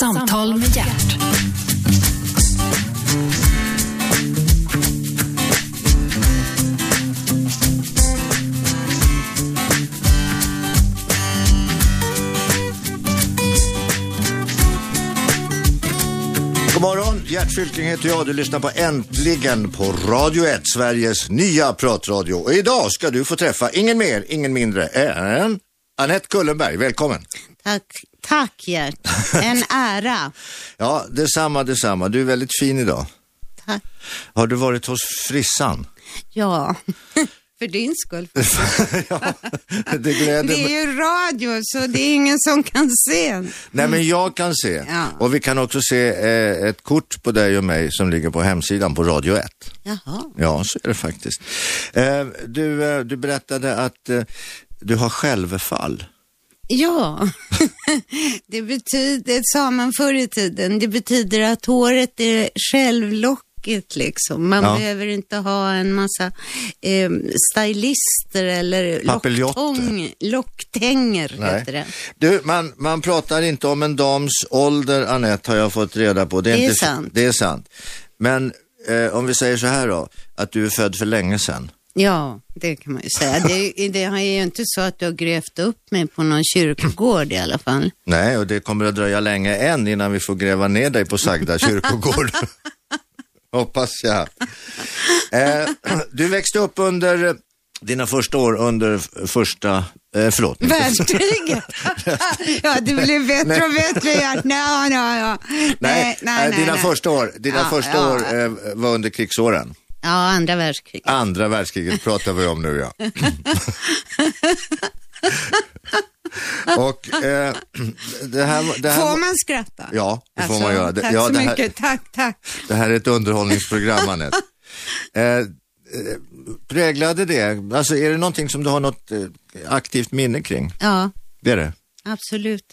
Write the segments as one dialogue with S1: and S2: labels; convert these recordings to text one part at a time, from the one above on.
S1: Samtal med hjärt.
S2: God morgon, Gert Fylking heter jag. Du lyssnar på Äntligen på Radio 1, Sveriges nya pratradio. Och idag ska du få träffa ingen mer, ingen mindre än Anette Kullenberg. Välkommen!
S3: Tack, tack Gert. En ära.
S2: Ja, detsamma, detsamma. Du är väldigt fin idag.
S3: Tack.
S2: Har du varit hos frissan?
S3: Ja, för din skull.
S2: ja, det gläder
S3: Det
S2: mig.
S3: är ju radio så det är ingen som kan se.
S2: Nej, men jag kan se.
S3: Ja.
S2: Och vi kan också se eh, ett kort på dig och mig som ligger på hemsidan på Radio 1.
S3: Jaha.
S2: Ja, så är det faktiskt. Eh, du, eh, du berättade att eh, du har självfall.
S3: Ja, det betyder, sa man förr i tiden, det betyder att håret är självlockigt liksom. Man
S2: Ja.
S3: behöver inte ha en massa eh, stylister eller
S2: Papiljotter.
S3: locktång, locktänger heter det.
S2: Du, man, man pratar inte om en dams ålder, Anette, har jag fått reda på.
S3: Det är
S2: inte,
S3: sant.
S2: Det är sant. Men eh, om vi säger så här då, att du är född för länge sedan.
S3: Ja, det kan man ju säga. Det, det är ju inte så att du har grävt upp mig på någon kyrkogård i alla fall.
S2: Nej, och det kommer att dröja länge än innan vi får gräva ner dig på sagda kyrkogård. Hoppas jag. Eh, du växte upp under eh, dina första år under f- första, eh, förlåt,
S3: Världskriget! ja, det blev bättre och bättre. Ja, no, no, no.
S2: nej, eh, dina första år, dina
S3: Ja,
S2: första
S3: Ah, ja.
S2: år eh, var under krigsåren.
S3: Ja, andra världskriget.
S2: Andra världskriget pratar vi om nu ja. Och eh, det här, det här
S3: Får man skratta? Alltså,
S2: Ja, det får man göra. Det-
S3: Tack
S2: ja,
S3: så
S2: det här-
S3: mycket. Tack, tack.
S2: Det här är ett underhållningsprogram, Anette. Eh, eh, präglade det, alltså är det någonting som du har något eh, aktivt minne kring?
S3: Ja.
S2: Det är det?
S3: Absolut.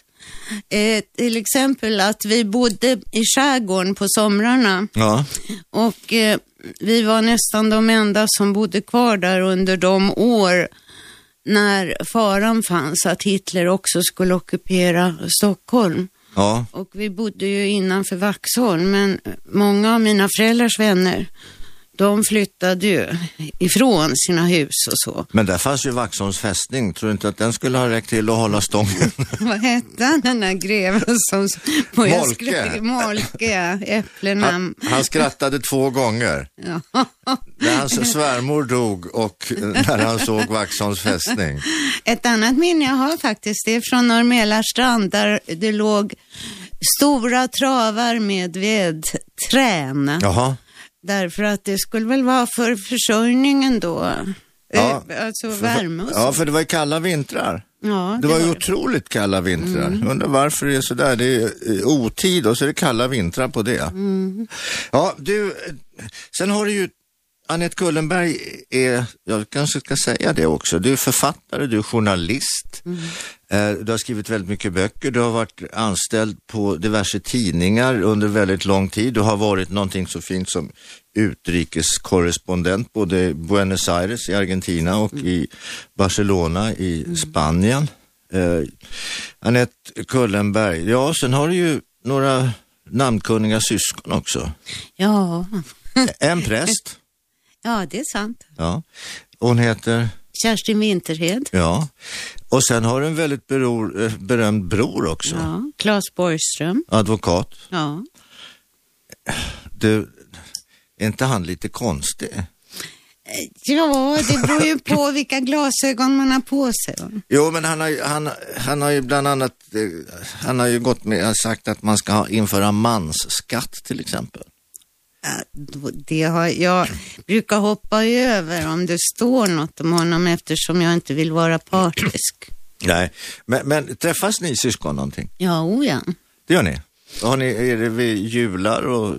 S3: Eh, till exempel att vi bodde i skärgården på somrarna
S2: Ja.
S3: och eh, vi var nästan de enda som bodde kvar där under de år när faran fanns att Hitler också skulle ockupera Stockholm.
S2: Ja,
S3: Och vi bodde ju innanför Vaxholm, men många av mina föräldrars vänner, de flyttade ju ifrån sina hus och så.
S2: men där fanns ju Vaxholms fästning. Tror du inte att den skulle ha räckt till att hålla stången?
S3: Vad hette han den där greven som... på- jag
S2: Molke.
S3: skrev- Molke, ja. Äpplena.
S2: Han, han skrattade två gånger.
S3: Ja.
S2: När hans svärmor dog och eh, när han såg Vaxholms fästning.
S3: Ett annat minne jag har faktiskt, det är från Norrmälarstrand där det låg stora travar med vedträn.
S2: Jaha.
S3: Därför att det skulle väl vara för försörjningen då.
S2: Ja.
S3: Eh, Alltså värme och så.
S2: Ja, för det var ju kalla vintrar.
S3: Ja,
S2: Det Mm. var ju otroligt kalla vintrar. Undrar varför det är sådär. Det är eh, otid och så är det kalla vintrar på det. Ja, du, eh, sen har du ju Anette Kullenberg är, jag kanske ska säga det också, du är författare, du är journalist, Eh, du har skrivit väldigt mycket böcker, du har varit anställd på diverse tidningar under väldigt lång tid, du har varit någonting så fint som utrikeskorrespondent både i Buenos Aires i Argentina och i Barcelona i Spanien. Eh, Anette Kullenberg, ja sen har du ju några namnkunniga syskon också.
S3: Ja.
S2: En präst.
S3: ja, det är sant.
S2: Ja. Hon heter,
S3: Kerstin Winterhed.
S2: ja. Och sen har du en väldigt beror, eh, berömd bror också.
S3: Ja. Claes Borgström.
S2: Advokat.
S3: Ja.
S2: Du, är inte han lite konstig?
S3: ja, det beror ju på vilka glasögon man har på sig.
S2: Jo, men han har, ju- han, han har ju bland annat, eh, han har ju gått med, har sagt att man ska ha- införa mansskatt till exempel.
S3: Ja, då- Det har, jag brukar hoppa över om det står något om honom eftersom jag inte vill vara partisk.
S2: Nej. Men, men träffas ni syskon någonting?
S3: Ja, o ja.
S2: Det gör ni? Har ni, är det vid jular och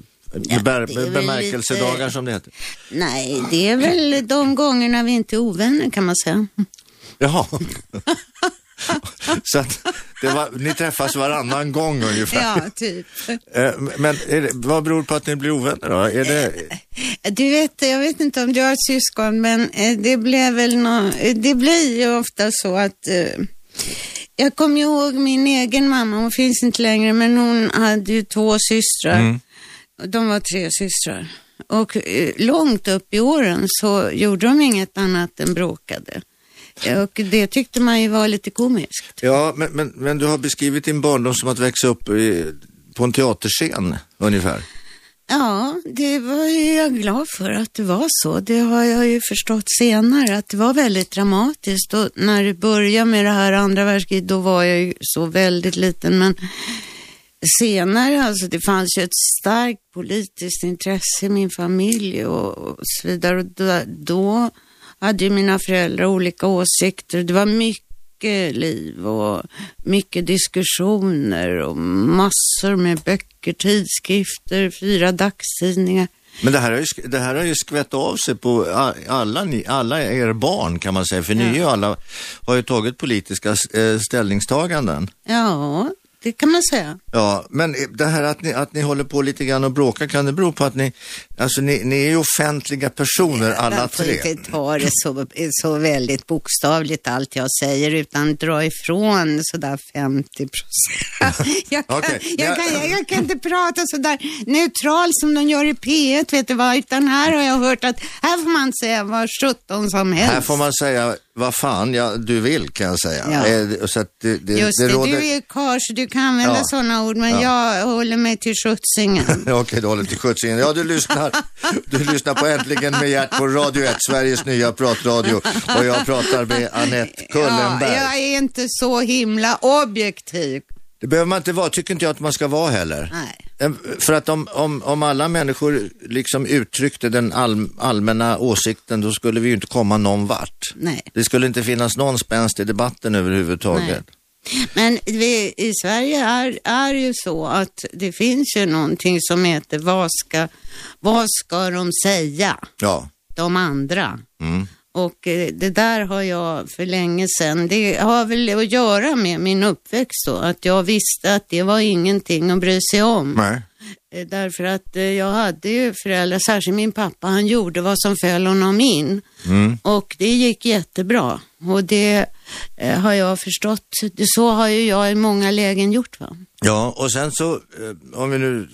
S2: bär,
S3: det är väl
S2: bemärkelsedagar
S3: lite-
S2: som det heter?
S3: Nej, det är väl de gångerna vi inte är ovänner kan man säga.
S2: Jaha. Så att det var, ni träffas varannan gång ungefär.
S3: Ja, typ.
S2: Eh, Men är det, vad beror det på att ni blir ovänner då? Är det,
S3: Du vet, jag vet inte om du har ett syskon, men eh, det blir väl nå, eh, det blir ju ofta så att eh, jag kommer ju ihåg min egen mamma, hon finns inte längre, men hon hade ju två systrar. De var tre systrar. Och eh, långt upp i åren så gjorde de inget annat än bråkade. Och det tyckte man ju var lite komiskt.
S2: Ja, men, men, men du har beskrivit din barndom som att växa upp i, på en teaterscen ungefär.
S3: Ja, det var ju jag glad för att det var så. Det har jag ju förstått senare att det var väldigt dramatiskt och när det började med det här andra världskriget då var jag ju så väldigt liten men senare alltså det fanns ju ett starkt politiskt intresse i min familj och, och så vidare och då, då hade ju mina föräldrar olika åsikter. Det var mycket liv och mycket diskussioner och massor med böcker, tidskrifter, fyra dagstidningar.
S2: Men det här har ju, sk- det här har ju skvätt av sig på a- alla, ni, alla er barn kan man säga, för ni är ju alla har ju tagit politiska eh, ställningstaganden.
S3: Ja, det kan man säga.
S2: Ja, men det här att ni, att ni håller på lite grann och bråkar, kan det bero på att ni, alltså ni, ni är ju offentliga personer alla
S3: Man får
S2: tre?
S3: inte ta det så, så väldigt bokstavligt allt jag säger utan dra ifrån sådär 50 procent. jag, kan,
S2: Okej,
S3: jag,
S2: men
S3: kan,
S2: jag-
S3: jag, jag kan inte prata sådär neutralt som de gör i P1 vet du vad, utan här har jag hört att här får man säga vad sjutton som helst.
S2: Här får man säga vad fan ja, du vill kan jag säga.
S3: Ja.
S2: Eh, det- Så att det, det,
S3: Just det,
S2: det råder...
S3: du är karl så du kan använda
S2: Ja.
S3: sådana ord men jag håller mig till skjutsingen.
S2: Ja, Okej, du håller till skjutsingen. Ja, du lyssnar. Du lyssnar på Äntligen med hjärt på Radio 1, Sveriges nya pratradio. Och jag pratar med Anette
S3: Ja,
S2: Kullenberg.
S3: jag är inte så himla objektiv.
S2: Det behöver man inte vara, tycker inte jag att man ska vara heller.
S3: Nej.
S2: Eh, För att om, om, om alla människor liksom uttryckte den all, allmänna åsikten, då skulle vi ju inte komma någon vart.
S3: Nej.
S2: Det skulle inte finnas någon spänst i debatten överhuvudtaget.
S3: Men vi, i Sverige är, är ju så att det finns ju någonting som heter vad ska, vad ska de säga,
S2: Ja.
S3: de andra?
S2: Mm.
S3: Och eh, det där har jag för länge sedan, det har väl att göra med min uppväxt då, att jag visste att det var ingenting att bry sig om.
S2: Nej.
S3: Eh, Därför att eh, jag hade ju föräldrar, särskilt min pappa, han gjorde vad som föll honom in.
S2: Mm.
S3: Och det gick jättebra. Och det eh, har jag förstått. Det, så har ju jag i många lägen gjort. Va?
S2: Ja, och sen så, eh, om vi nu,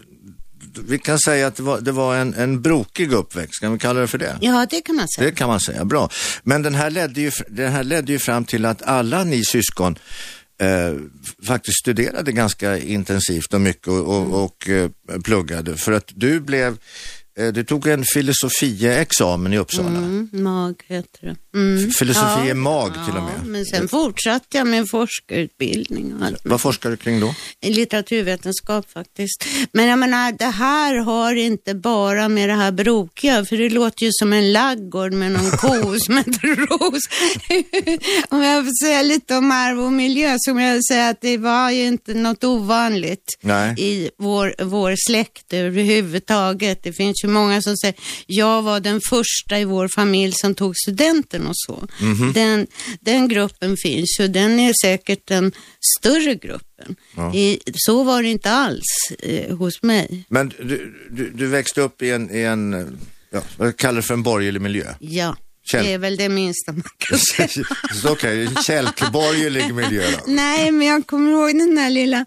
S2: vi kan säga att det var, det var en, en brokig uppväxt, kan vi kalla det för det?
S3: Ja, det kan man
S2: Det
S3: säga.
S2: kan man säga, bra. Men den här ledde ju, den här ledde ju fram till att alla ni syskon eh, faktiskt studerade ganska intensivt och mycket och,
S3: Mm.
S2: och, och eh, pluggade. För att du blev, eh, du tog en filosofieexamen i Uppsala.
S3: Mm, mag heter det. Mm.
S2: Filosofie
S3: ja.
S2: mag till och
S3: Ja,
S2: med.
S3: men sen fortsatte jag med forskarutbildning och allt.
S2: Vad forskar du kring då?
S3: I litteraturvetenskap faktiskt. Men jag menar, det här har inte bara med det här brokiga, för det låter ju som en laggård med någon ko som heter Ros. om jag får säga lite om arv och miljö så vill jag säga att det var ju inte något ovanligt
S2: Nej.
S3: i vår, vår släkt överhuvudtaget. Det finns ju många som säger, jag var den första i vår familj som tog studenten och så. Den, den gruppen finns ju, den är säkert den större gruppen.
S2: Ja.
S3: I, så var det inte alls eh, hos mig.
S2: Men du, du, du växte upp i en, i en eh, ja, vad kallar det för en borgerlig miljö?
S3: Ja,
S2: Kjell.
S3: det är väl det minsta man kan säga.
S2: Så Okej, en kälkborgerlig miljö då.
S3: Nej, men jag kommer ihåg den där lilla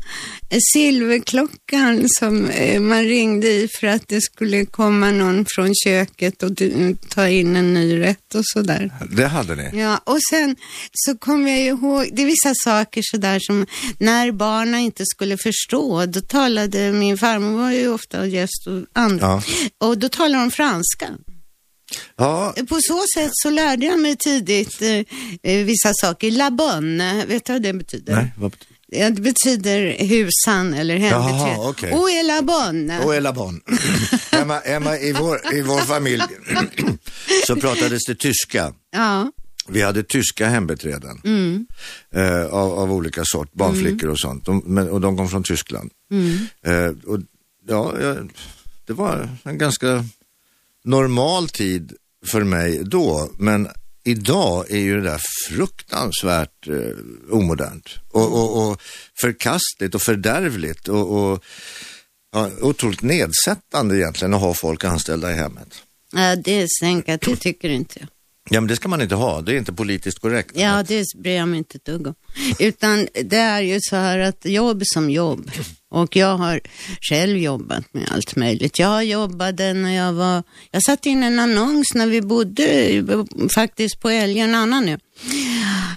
S3: eh, silverklockan som eh, man ringde i för att det skulle komma någon från köket och du- mm, ta in en ny rätt och sådär.
S2: Det hade ni?
S3: Ja, och sen så kommer jag ju ihåg, det är vissa saker sådär som när barnen inte skulle förstå, då talade min farmor, var ju ofta gäst och andra,
S2: Ja.
S3: och då talade de franska.
S2: Ja,
S3: På så sätt så lärde jag mig tidigt eh, eh, vissa saker. La bonne, vet du vad det betyder?
S2: nej, vad betyder
S3: Ja, Det betyder husan eller hembiträde.
S2: Jaha, okej.
S3: Och är la bonne.
S2: Och Ella Bonn. Emma, Emma i, vår, i vår familj så pratades det tyska.
S3: Ja,
S2: Vi hade tyska hembiträden eh, av, av olika sort, barnflickor och sånt. De, men, och de kom från Tyskland. Eh, och, ja, jag, det var en ganska normal tid för mig då, men idag är ju det där fruktansvärt eh, omodernt och, och, och förkastligt och fördärvligt och, och ja, otroligt nedsättande egentligen att ha folk anställda i hemmet.
S3: Ja, det är sänkat, det tycker inte jag.
S2: Ja, men det ska man inte ha. Det är inte politiskt korrekt.
S3: Ja, det bryr jag mig inte ett dugg om. Utan det är ju så här att jobb som jobb. Och jag har själv jobbat med allt möjligt. Jag jobbade när jag var, jag satte in en annons när vi bodde faktiskt på Älgen, annan nu.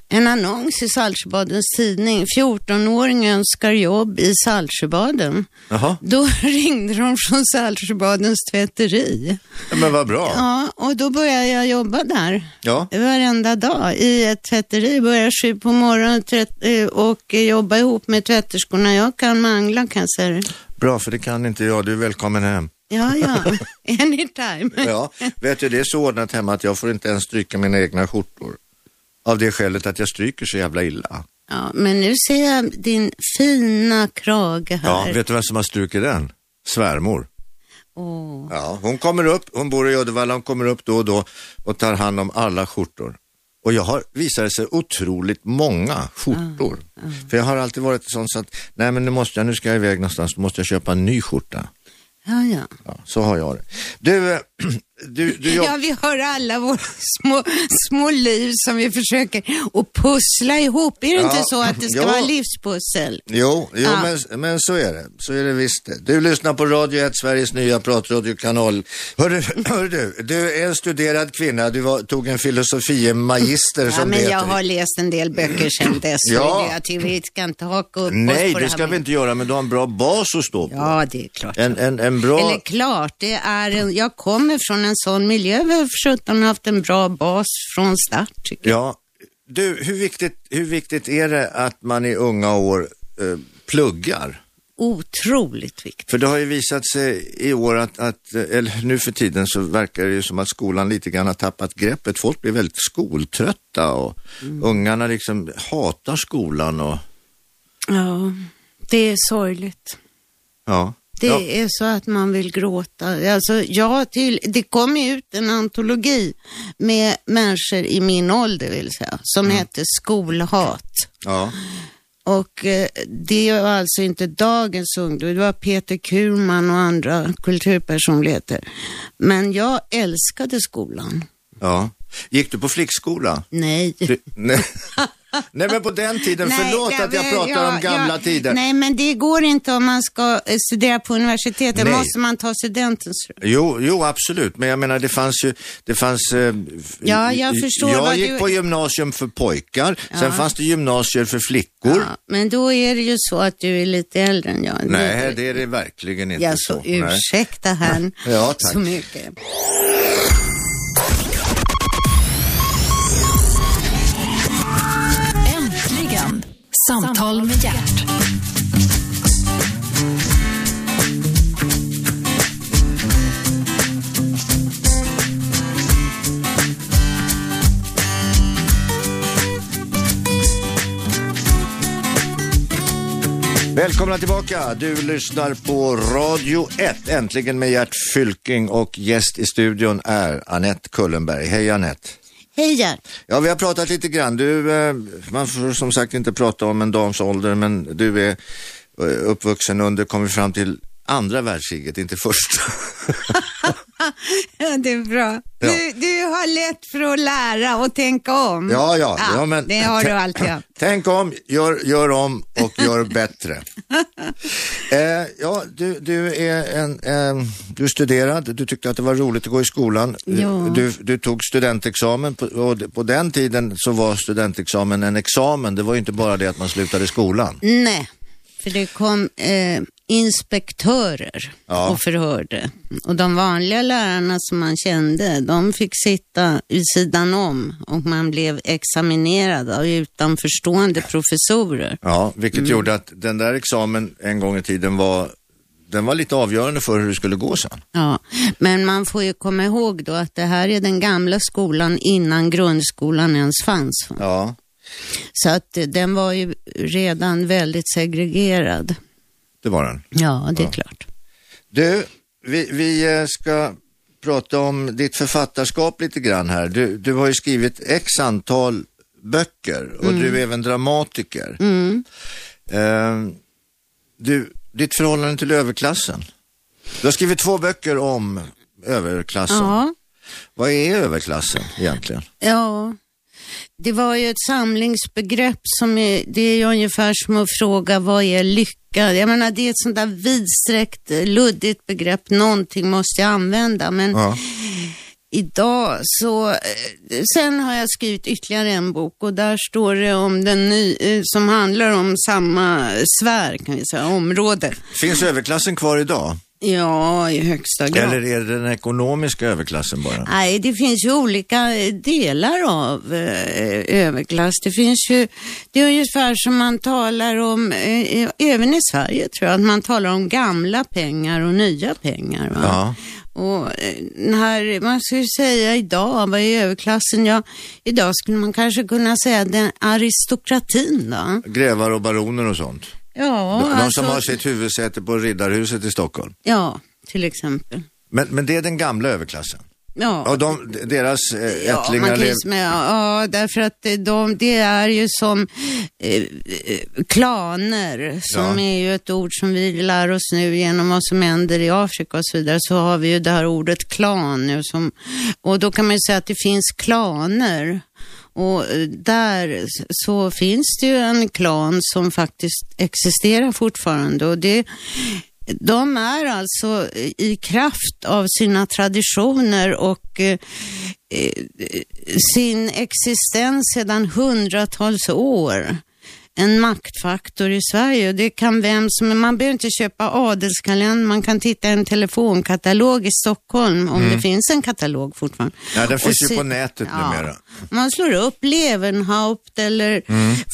S3: En annons i Saltsjöbadens tidning. 14-åring önskar jobb i Saltsjöbaden.
S2: Jaha,
S3: Då ringde de från Saltsjöbadens tvätteri.
S2: ja, men vad bra. Ja.
S3: Ja, och då började jag jobba där varenda dag i ett tvätteri. Börjar sju på morgonen tvätt- eh, och jobba ihop med tvätterskorna. Jag kan mangla kan jag säga det.
S2: bra för det kan inte jag. Du är välkommen hem.
S3: Ja, ja, anytime.
S2: Ja, vet du, det är så ordnat hemma att jag får inte ens stryka mina egna skjortor. Av det skälet att jag stryker så jävla illa.
S3: Ja, men nu ser jag din fina krage
S2: Ja,
S3: här.
S2: vet du vem som har strukit den? Svärmor.
S3: Åh.
S2: Ja, hon kommer upp, hon bor i Uddevalla, hon kommer upp då och då och tar hand om alla skjortor. Och jag har, visade sig, otroligt många skjortor. För jag har alltid varit sån så att, nej men nu måste jag, nu ska jag iväg någonstans, då måste jag köpa en ny skjorta.
S3: Ja, ja.
S2: Ja, så har jag det. Du, eh, du, du jobb...
S3: Ja, vi har alla våra små, små liv som vi försöker att pussla ihop. Är det
S2: Ja,
S3: inte så att det ska
S2: jo.
S3: vara livspussel?
S2: Jo, jo
S3: Ja.
S2: men, men så är det. Så är det visst det. Du lyssnar på Radio 1, Sveriges nya pratradiokanal. Hörru, hör du, du är en studerad kvinna. Du var, tog en filosofie magister
S3: Ja,
S2: som det
S3: men jag
S2: heter.
S3: har läst en del böcker sedan dess.
S2: Ja.
S3: ja. Jag tycker vi ska inte haka upp oss
S2: Nej,
S3: på
S2: det
S3: här
S2: ska vi
S3: med-
S2: inte göra, men du har en bra bas att stå på.
S3: Ja, det är klart.
S2: En, en, en bra...
S3: Eller klart, det är en, jag kommer från en sån miljö. Vi har för sjutton haft en bra bas från start. tycker
S2: Ja. Du, hur viktigt, hur viktigt är det att man i unga år eh, pluggar?
S3: jag. Otroligt viktigt.
S2: För det har ju visat sig i år att, att, eh, eller nu för tiden så verkar det ju som att skolan lite grann har tappat greppet. Folk blir väldigt skoltrötta och
S3: Mm.
S2: ungarna liksom hatar skolan och
S3: Ja, det är sorgligt.
S2: ja.
S3: Det
S2: ja.
S3: är så att man vill gråta. Alltså, jag till, det kom ju ut en antologi med människor i min ålder, vill säga, som
S2: Mm.
S3: hette Skolhat.
S2: ja.
S3: Och eh, det var alltså inte dagens ungdom, det var Peter Kurman och andra kulturpersonligheter. Men jag älskade skolan.
S2: ja. Gick du på flickskola?
S3: Nej.
S2: Du, nej. nej, men på den tiden, förlåt
S3: nej,
S2: att jag
S3: men
S2: pratar om gamla
S3: jag-
S2: tider.
S3: Nej, men det går inte om man ska eh, studera på universitetet. Då
S2: Nej.
S3: måste man ta studentens rum.
S2: Jo, jo, absolut. Men jag menar, det fanns ju... Det fanns, eh, f-
S3: Ja, jag
S2: i-
S3: förstår
S2: Jag
S3: vad
S2: gick
S3: du-
S2: på gymnasium för pojkar, sen fanns det gymnasier för flickor.
S3: Ja, men då är det ju så att du är lite äldre än jag.
S2: Nej, det är det verkligen inte
S3: Ja,
S2: så.
S3: så
S2: Nej.
S3: ursäkta här
S2: Ja, tack.
S3: så mycket.
S1: Äntligen! Samtal med hjärt.
S2: Välkomna tillbaka. Du lyssnar på Radio 1, äntligen med Gert Fylking och gäst i studion är Annette Kullenberg. Hej Annette.
S3: Hej Gert.
S2: Ja, vi har pratat lite grann. Du, eh, man får som sagt inte prata om en dams ålder, men du är eh, uppvuxen under, kom vi fram till, andra världskriget, inte första.
S3: Ja, det är bra.
S2: Ja.
S3: Du, du har lätt för att lära och tänka om.
S2: Ja, ja. ja men,
S3: Mm. det har du
S2: Tän-
S3: alltid. haft.
S2: Tänk om, gör, gör om och gör bättre. eh, ja, du, du, är en, eh, du är studerad, du tyckte att det var roligt att gå i skolan.
S3: Ja.
S2: Du, du tog studentexamen på, och på den tiden så var studentexamen en examen. Det var ju inte bara det att man slutade skolan.
S3: Nej, för det kom eh, inspektörer
S2: Ja.
S3: och förhörde. Och de vanliga lärarna som man kände, de fick sitta vid sidan om och man blev examinerad av utanförstående professorer.
S2: Ja, vilket
S3: Mm.
S2: gjorde att den där examen en gång i tiden var, den var lite avgörande för hur det skulle gå sen.
S3: Ja, men man får ju komma ihåg då att det här är den gamla skolan innan grundskolan ens fanns. va?
S2: Ja,
S3: Så att eh, den var ju redan väldigt segregerad.
S2: det var den.
S3: Ja, det är klart.
S2: Du, vi, vi eh, ska prata om ditt författarskap lite grann här. Du, du har ju skrivit x antal böcker
S3: Mm.
S2: och du är även dramatiker. Eh, du, ditt förhållande till överklassen. Du har skrivit två böcker om överklassen.
S3: Ja,
S2: Vad är överklassen egentligen?
S3: Ja, det var ju ett samlingsbegrepp som är, det är ju ungefär som att fråga vad är lycka? Jag menar det är ett sånt där vidsträckt, luddigt begrepp. Någonting måste jag använda men
S2: Ja.
S3: idag så, eh, sen har jag skrivit ytterligare en bok och där står det om den ny, eh, som handlar om samma sfär kan vi säga, område.
S2: Finns överklassen kvar idag?
S3: Ja, i högsta grad.
S2: Eller är det den ekonomiska överklassen bara?
S3: Nej, det finns ju olika eh, delar av eh, överklass. Det finns ju, det är ungefär som man talar om, eh, eh, även i Sverige tror jag, att man talar om gamla pengar och nya pengar. Va?
S2: Ja.
S3: Och eh, när man skulle säga idag, vad är överklassen? Ja, idag skulle man kanske kunna säga den aristokratin då.
S2: Grävar och baroner och sånt.
S3: Ja,
S2: de, de
S3: alltså,
S2: som har sitt huvudsäte på Riddarhuset i Stockholm.
S3: ja till exempel.
S2: Men, men det är den gamla överklassen.
S3: Ja,
S2: Och de, deras eh,
S3: Ja, man
S2: ättlingar
S3: kan ju
S2: lev-
S3: smä- ja, därför att de, de, det är ju som eh, eh, klaner, som
S2: Ja.
S3: är ju ett ord som vi lär oss nu genom vad som händer i Afrika och så vidare, så har vi ju det här ordet klan nu som, och då kan man ju säga att det finns klaner. Och eh, där s- så finns det ju en klan som faktiskt existerar fortfarande och det de är alltså i kraft av sina traditioner och eh, eh, sin existens sedan hundratals år en maktfaktor i Sverige. Och Det kan vem som, man behöver inte köpa adelskalender, man kan titta i en telefonkatalog i Stockholm om det finns en katalog fortfarande.
S2: Mm. Ja, den
S3: Och
S2: finns ju
S3: se-
S2: på nätet numera. Mm.
S3: Man slår upp Levenhaupt eller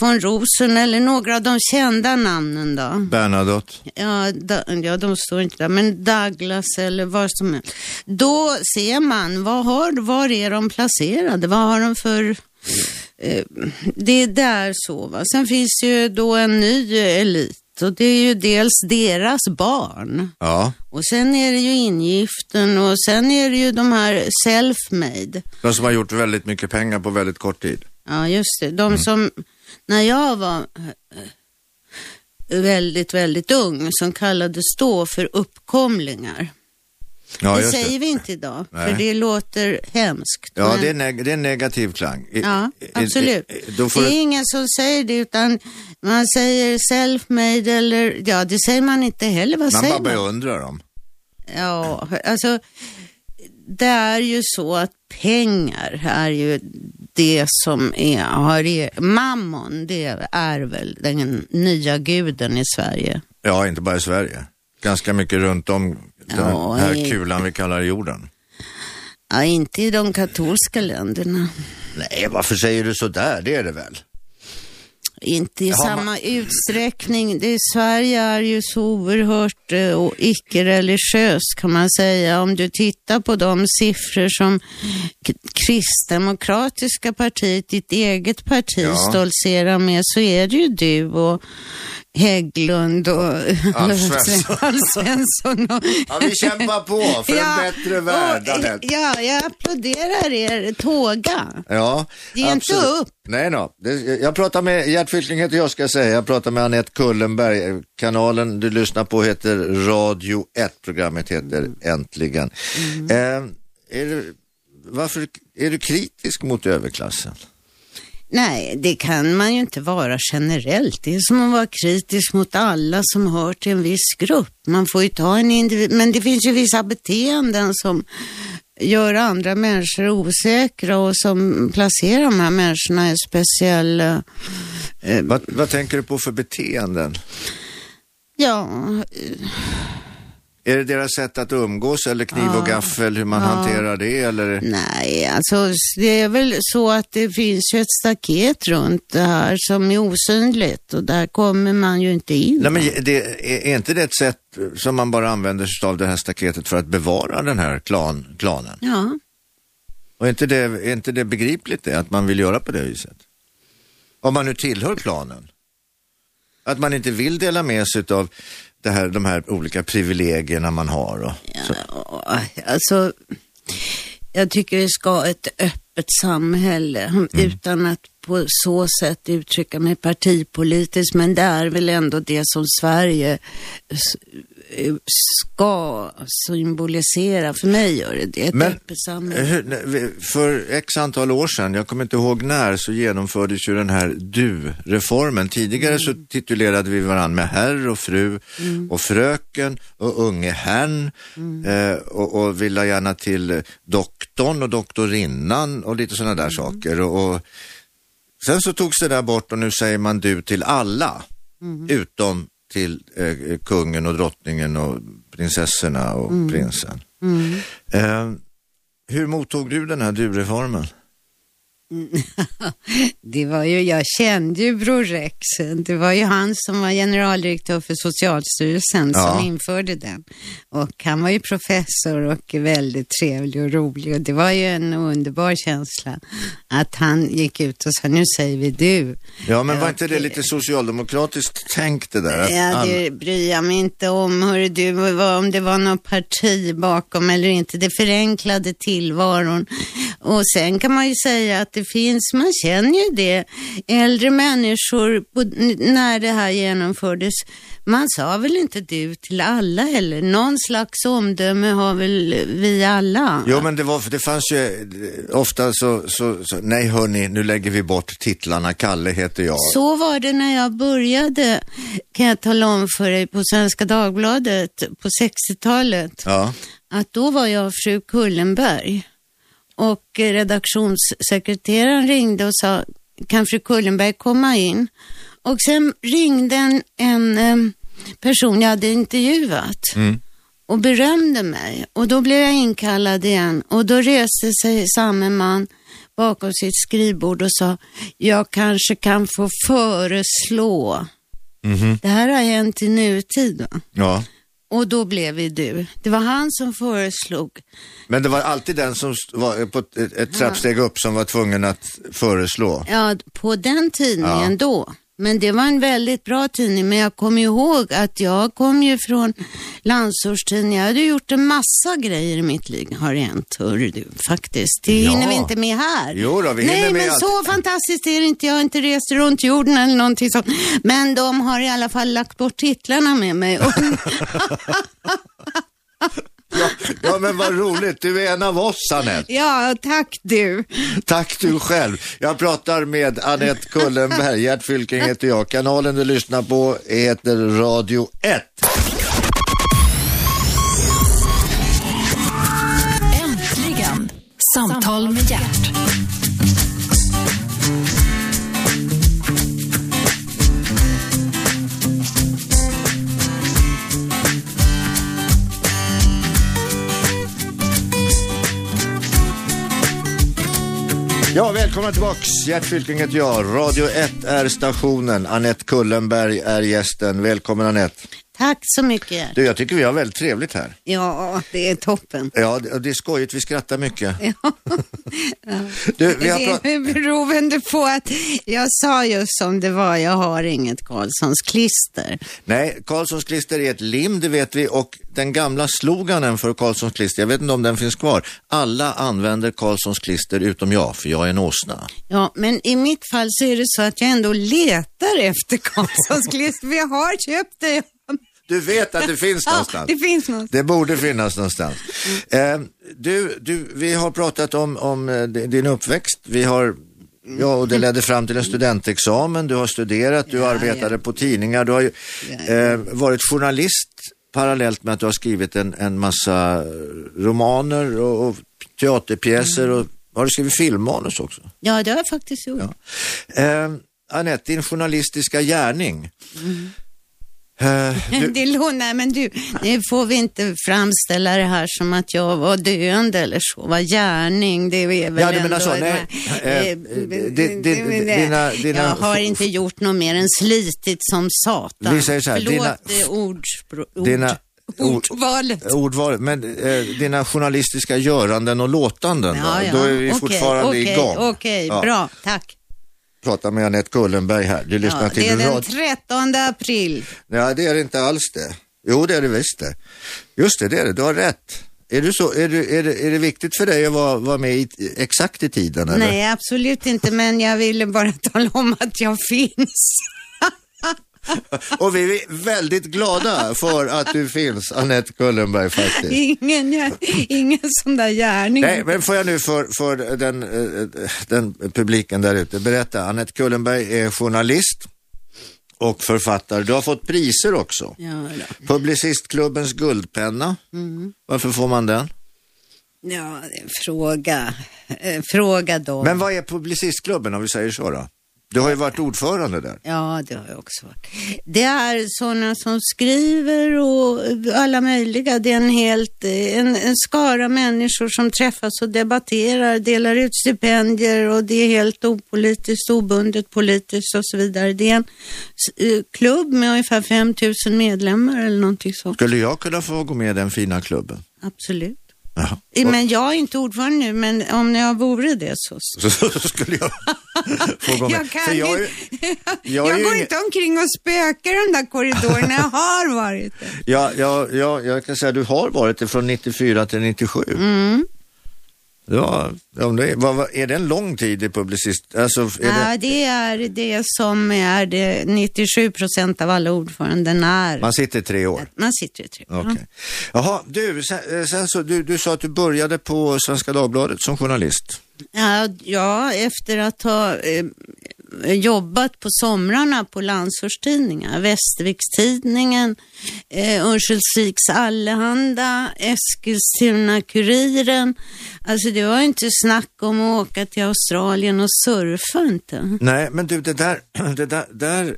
S3: von Rosen eller några av de kända namnen då.
S2: Bernadotte.
S3: Ja, da, ja, de står inte där, men Douglas eller vad som helst. Då ser man, vad har, var är de placerade? Vad har de för... Eh, det är där så. Va? Sen finns ju då en ny eh, elit och det är ju dels deras barn.
S2: Ja,
S3: Och sen är det ju ingiften och sen är det ju de här self-made.
S2: de som har gjort väldigt mycket pengar på väldigt kort tid.
S3: Ja, just det. De som, när jag var eh, väldigt, väldigt ung, som kallades då för uppkomlingar.
S2: Ja,
S3: det
S2: just
S3: säger
S2: det.
S3: vi inte idag,
S2: Nej.
S3: för det låter hemskt.
S2: Ja,
S3: men-
S2: det är, neg- det är en negativ klang. I-
S3: Mm. ja
S2: i- i-
S3: absolut.
S2: i- Då får
S3: Det är
S2: du...
S3: ingen som säger det, utan man säger self-made eller, ja, det säger man inte heller. Vad
S2: Man
S3: säger
S2: bara
S3: man?
S2: beundrar dem.
S3: Ja, alltså det är ju så att pengar är ju det som är, har er, mammon, det är väl den nya guden i Sverige.
S2: Ja, inte bara i Sverige. Ganska mycket runt om den
S3: Ja,
S2: här
S3: i-
S2: kulan vi kallar jorden.
S3: Ja, inte i de katolska länderna,
S2: Nej, varför säger du så där? Det är det väl?
S3: inte i
S2: Har man-
S3: samma utsträckning. Det, Sverige är ju så oerhört eh, och icke-religiöst kan man säga. Om du tittar på de siffror som k- kristdemokratiska partiet, ditt eget parti,
S2: Ja.
S3: stoltserar med så är det ju du och Hägglund och
S2: Alf Svensson.
S3: Alf Svensson och
S2: Ja, vi kämpar på för en bättre värld,
S3: och-
S2: Anette.
S3: Ja, jag applåderar er tåga.
S2: Ja,
S3: Ge inte
S2: absolut.
S3: upp.
S2: Nej då. Det, jag pratar med, Gert Fylking heter jag ska jag säga, jag pratar med Anette Kullenberg. Kanalen du lyssnar på heter Radio 1, programmet heter Äntligen.
S3: Mm.
S2: Eh, är du, varför är du kritisk mot överklassen?
S3: Nej, det kan man ju inte vara generellt. Det är som att vara kritisk mot alla som hör till en viss grupp. Man får ju ta en individ, men det finns ju vissa beteenden som gör andra människor osäkra och som placerar de här människorna i en speciell, eh,
S2: Vad, vad tänker du på för beteenden?
S3: ja,
S2: Är det deras sätt att umgås eller kniv
S3: Ah.
S2: och gaffel, hur man hanterar det? Eller?
S3: nej, alltså det är väl så att det finns ju ett staket runt det här som är osynligt och där kommer man ju inte in.
S2: Nej, men det, är, är inte det ett sätt som man bara använder sig av det här staketet för att bevara den här klan, klanen?
S3: Ja.
S2: Och är inte det, är inte det begripligt det, att man vill göra på det viset? Om man nu tillhör klanen. Att man inte vill dela med sig av det här, de här olika privilegierna man har. Och, så.
S3: Ja, alltså, jag tycker vi ska ha ett öppet samhälle utan att på så sätt uttrycka mig partipolitiskt, men det är väl ändå det som Sverige s- eh, ska symbolisera. För mig gör det det. Ett
S2: Men-
S3: öppet samhälle.
S2: Eh, Hur- nej, vi- För x antal år sedan, jag kommer inte ihåg när, så genomfördes ju den här du-reformen. Tidigare så titulerade vi varandra med herr och fru och fröken och unge herrn eh, och, och ville gärna till eh, doktorn och doktorinnan och lite sådana där saker. Och, och sen så togs det där bort och nu säger man du till alla utom till eh, kungen och drottningen och prinsessorna och prinsen. Eh, hur mottog du den här du-reformen?
S3: Det var ju, jag kände ju Bror Rex. Det var ju han som var generaldirektör för Socialstyrelsen
S2: Ja.
S3: som införde den. Och han var ju professor och väldigt trevlig och rolig. Och det var ju en underbar känsla att han gick ut och sa, nu säger vi du.
S2: Ja, men var
S3: Ja,
S2: inte det
S3: det-
S2: lite socialdemokratiskt tänkt det där? Att
S3: Ja,
S2: alla-
S3: det bryr jag mig inte om, hörru du, vad- om det var något parti bakom eller inte. Det förenklade tillvaron. Och sen kan man ju säga att det finns, man känner ju det, äldre människor, på, n- när det här genomfördes, man sa väl inte du till alla heller. Någon slags omdöme har väl vi alla.
S2: Jo, men det, var, det fanns ju eh, ofta så, så, så, nej hörni, nu lägger vi bort titlarna, Kalle heter jag.
S3: Så var det när jag började, kan jag tala om för dig, på Svenska Dagbladet på 60-talet.
S2: Ja,
S3: att då var jag fru Kullenberg och eh, redaktionssekreteraren ringde och sa kan fru Kullenberg komma in? Och sen ringde en, en em, person jag hade intervjuat och berömde mig och då blev jag inkallad igen och då reste sig samme man bakom sitt skrivbord och sa jag kanske kan få föreslå. Det här har hänt i nutid. Va?
S2: Mhm, ja.
S3: Och då blev vi du. Det var han som föreslog.
S2: Men det var alltid den som st- var eh, på ett, ett ett trappsteg upp som var tvungen att föreslå.
S3: Ja, på den tidningen
S2: Ja.
S3: då. Men det var en väldigt bra tidning. Men jag kommer ihåg att jag kom ju från landsortstidningen. Jag hade gjort en massa grejer i mitt liv. Har hänt, hörru du, faktiskt. Det
S2: Ja.
S3: hinner vi inte med här.
S2: Jo då, vi
S3: Nej,
S2: hinner med
S3: men
S2: allt.
S3: så fantastiskt är det inte. Jag har inte rest runt jorden eller någonting sånt. Men de har i alla fall lagt bort titlarna med mig. Och
S2: Ja, men vad roligt, du är en av oss Anette.
S3: ja, tack du.
S2: Tack du själv. Jag pratar med Anette Kullenberg. Gert Fylking heter jag. Kanalen du lyssnar på heter Radio 1.
S1: Äntligen! Samtal med hjärt.
S2: Ja, välkomna tillbaks. Gert Fylking heter jag. Radio 1 är stationen. Anette Kullenberg är gästen. Välkommen Anette.
S3: Tack så mycket.
S2: Du, jag tycker vi har väldigt trevligt här.
S3: Ja, det är toppen.
S2: Ja, det det är skojigt. Vi skrattar mycket. Du, vi har pratat...
S3: Det är beroende på att jag sa just som det var, jag har inget Karlssons klister.
S2: Nej, Karlssons klister är ett lim, det vet vi. Och den gamla sloganen för Karlssons klister, jag vet inte om den finns kvar. Alla använder Karlssons klister utom jag, för jag är en åsna.
S3: Ja, men i mitt fall så är det så att jag ändå letar efter Karlssons klister, för jag har köpt det.
S2: Du vet att det finns
S3: Ja,
S2: någonstans.
S3: det finns något.
S2: Det borde finnas någonstans. Eh, du, du, vi har pratat om, om eh, di- din uppväxt. Vi har, ja, och det ledde fram till en studentexamen. Du har studerat, du arbetade på tidningar. Du har ju, eh, varit journalist parallellt med att du har skrivit en, en massa romaner och, och teaterpjäser. Och, har du skrivit filmmanus också?
S3: Ja, det har jag faktiskt gjort.
S2: Ja. Eh, Anette, din journalistiska gärning. Eh, du,
S3: Det lå- nej men du, nu får vi inte framställa det här som att jag var döende eller så. Vad gärning, det är väl
S2: Ja, du menar
S3: ändå...
S2: så, nej. Eh, eh, di- di- dina- dina-
S3: jag har inte gjort något mer än slitit som satan.
S2: Vi säger så här,
S3: Förlåt
S2: dina-
S3: eh, ordspro- ord,
S2: dina- ord-
S3: ordvalet.
S2: Ordvalet, men eh, dina journalistiska göranden och låtanden,
S3: Ja,
S2: då,
S3: ja.
S2: då är vi
S3: Okej,
S2: fortfarande
S3: okej,
S2: igång.
S3: Okej,
S2: Ja,
S3: bra, tack.
S2: Prata med Anette Kullenberg här, du lyssnar
S3: Ja, det är
S2: till
S3: den
S2: radio...
S3: 13 april.
S2: Nej, det är det inte alls det. Jo, det är det visst det. Just det, det är det, du har rätt. Är, du så, är, du, är, det, är det viktigt för dig att vara, vara med i, exakt i tiden? Eller?
S3: Nej, absolut inte, men jag ville bara tala om att jag finns.
S2: Och vi är väldigt glada för att du finns, Annette Kullenberg faktiskt.
S3: Ingen, jag, ingen sån där gärning.
S2: Nej, men får jag nu för, för den, eh, den publiken där ute berätta. Annette Kullenberg är journalist och författare. Du har fått priser också.
S3: Ja, då.
S2: Publicistklubbens guldpenna. Varför får man den?
S3: ja det är en fråga. Eh, Fråga dem.
S2: Men vad är Publicistklubben om vi säger så då? Du har ju varit ordförande där.
S3: Ja, det har jag också varit. Det är sådana som skriver och alla möjliga. Det är en, helt, eh, en, en skara människor som träffas och debatterar, delar ut stipendier och det är helt opolitiskt, obundet politiskt och så vidare. Det är en s- eh, klubb med ungefär 5 000 medlemmar eller någonting sånt.
S2: Skulle jag kunna få gå med i den fina klubben?
S3: Absolut.
S2: Jaha.
S3: Eh, Men jag är inte ordförande nu, men om jag vore det så...
S2: Så, så, så skulle jag få gå med.
S3: Jag kan
S2: För jag, är ju-
S3: Jag,
S2: jag är ju
S3: går
S2: ingen-
S3: inte omkring och spökar i de där korridorerna, jag har varit det.
S2: Ja, ja, ja, jag kan säga att du har varit det från 94 till 97. Mm. Ja, om det, vad, vad, är det en lång tid i publicist? Alltså, är det,
S3: Ja, det är det som är det 97 procent av alla ordföranden är.
S2: man sitter tre år?
S3: Man sitter i tre.
S2: Okej. Jaha, du, sen, eh, sen så, du, du sa att du började på Svenska Dagbladet som journalist.
S3: Ja, ja, efter att ha eh, jobbat på somrarna på landsortstidningar, Västervikstidningen, eh, Örnsköldsviks Allehanda, Eskilstuna-Kuriren. Alltså det var ju inte snack om att åka till Australien och surfa inte.
S2: Nej, men du, det där, det där, där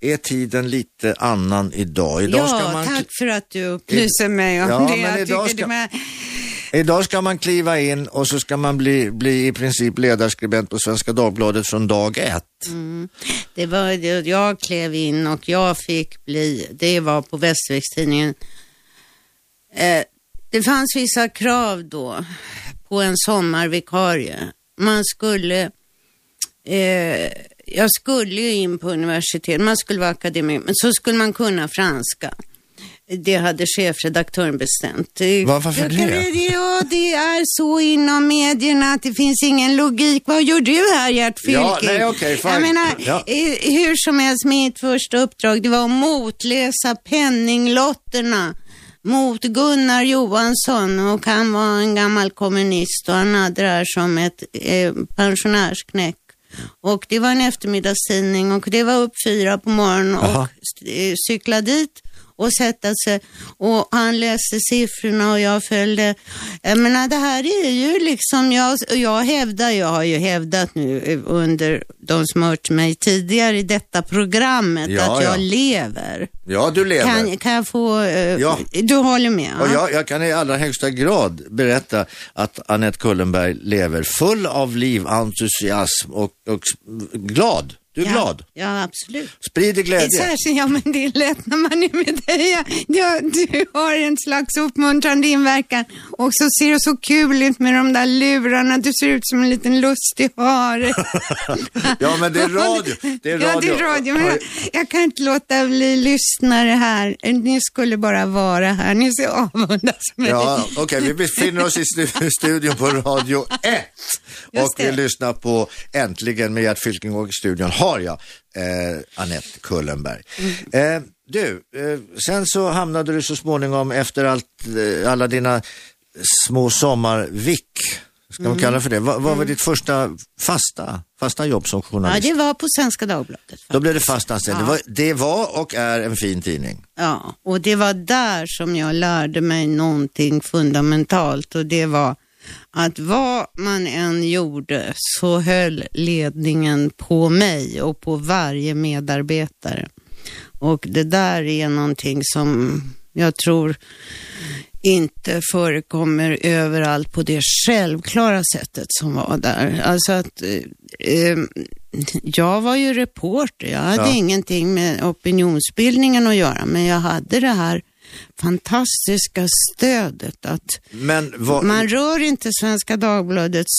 S2: är tiden lite annan idag. idag
S3: ja, tack för att du upplyser mig om
S2: Ja,
S3: det.
S2: men
S3: Jag
S2: idag
S3: tycker
S2: ska-
S3: det med...
S2: Idag ska man kliva in och så ska man bli, bli i princip ledarskribent på Svenska Dagbladet från dag ett.
S3: Mm. Det var, det- jag klev in och jag fick bli, det var på Västerviks-Tidningen. Eh, det fanns vissa krav då på en sommarvikarie. Man skulle, eh, jag skulle ju in på universitet, man skulle vara akademiker, men så skulle man kunna franska. Det hade chefredaktören bestämt. Eh,
S2: Va- varför
S3: jag
S2: det?
S3: kan- Ja, det är så inom medierna att det finns ingen logik. Vad gör du här, Gert
S2: Ja,
S3: Fylking?
S2: nej, okej, fine.
S3: Jag menar,
S2: Ja.
S3: eh, hur som helst, mitt första uppdrag det var att motläsa penninglotterna mot Gunnar Johansson och han var en gammal kommunist och han hade det här som ett eh, pensionärsknäck. Och det var en eftermiddagstidning och det var upp fyra på morgonen
S2: Jaha.
S3: och eh, cykla dit och sätta sig och han läste siffrorna och jag följde. Jag menar det här är ju liksom, jag, jag hävdar, jag har ju hävdat nu eh, under de som har hört mig tidigare i detta programmet
S2: Ja,
S3: att jag
S2: ja.
S3: lever.
S2: Ja, du lever.
S3: Kan, kan jag få, eh,
S2: Ja.
S3: du håller med?
S2: Och
S3: va?
S2: jag, jag kan i allra högsta grad berätta att Annette Kullenberg lever full av liv, entusiasm och, och s- glad. Du är
S3: ja,
S2: glad.
S3: Ja, absolut.
S2: Sprider glädje.
S3: Särskilt, ja men det är lätt när man är med dig. Ja, Ja, du har en slags uppmuntrande inverkan och så ser du så kul ut med de där lurarna. Du ser ut som en liten lustig hare.
S2: Ja, men det är radio. Det är radio.
S3: Ja, det är radio. Men jag, jag kan inte låta bli lyssnare här. Ni skulle bara vara här. Ni ser avundas mig.
S2: Ja, okej, vi befinner oss i stu- studion på Radio 1 och
S3: Just
S2: vi
S3: det.
S2: lyssnar på Äntligen med Gert Fylking och i studion har jag eh, Annette Kullenberg.
S3: Mm.
S2: Eh, du, eh, sen så hamnade du så småningom efter allt, eh, alla dina små sommarvick, ska
S3: Mm.
S2: man kalla för det. Va, vad var ditt första fasta, fasta jobb som
S3: ja,
S2: journalist?
S3: det var på Svenska Dagbladet.
S2: Då blev det fast anställd. Det, var, det var och är en fin tidning.
S3: Ja, och det var där som jag lärde mig någonting fundamentalt och det var att vad man än gjorde så höll ledningen på mig och på varje medarbetare. Och det där är någonting som jag tror inte förekommer överallt på det självklara sättet som var där. Alltså att eh, eh, jag var ju reporter, jag hade
S2: Ja.
S3: ingenting med opinionsbildningen att göra, men jag hade det här fantastiska stödet att
S2: Men vad,
S3: man rör inte Svenska Dagbladets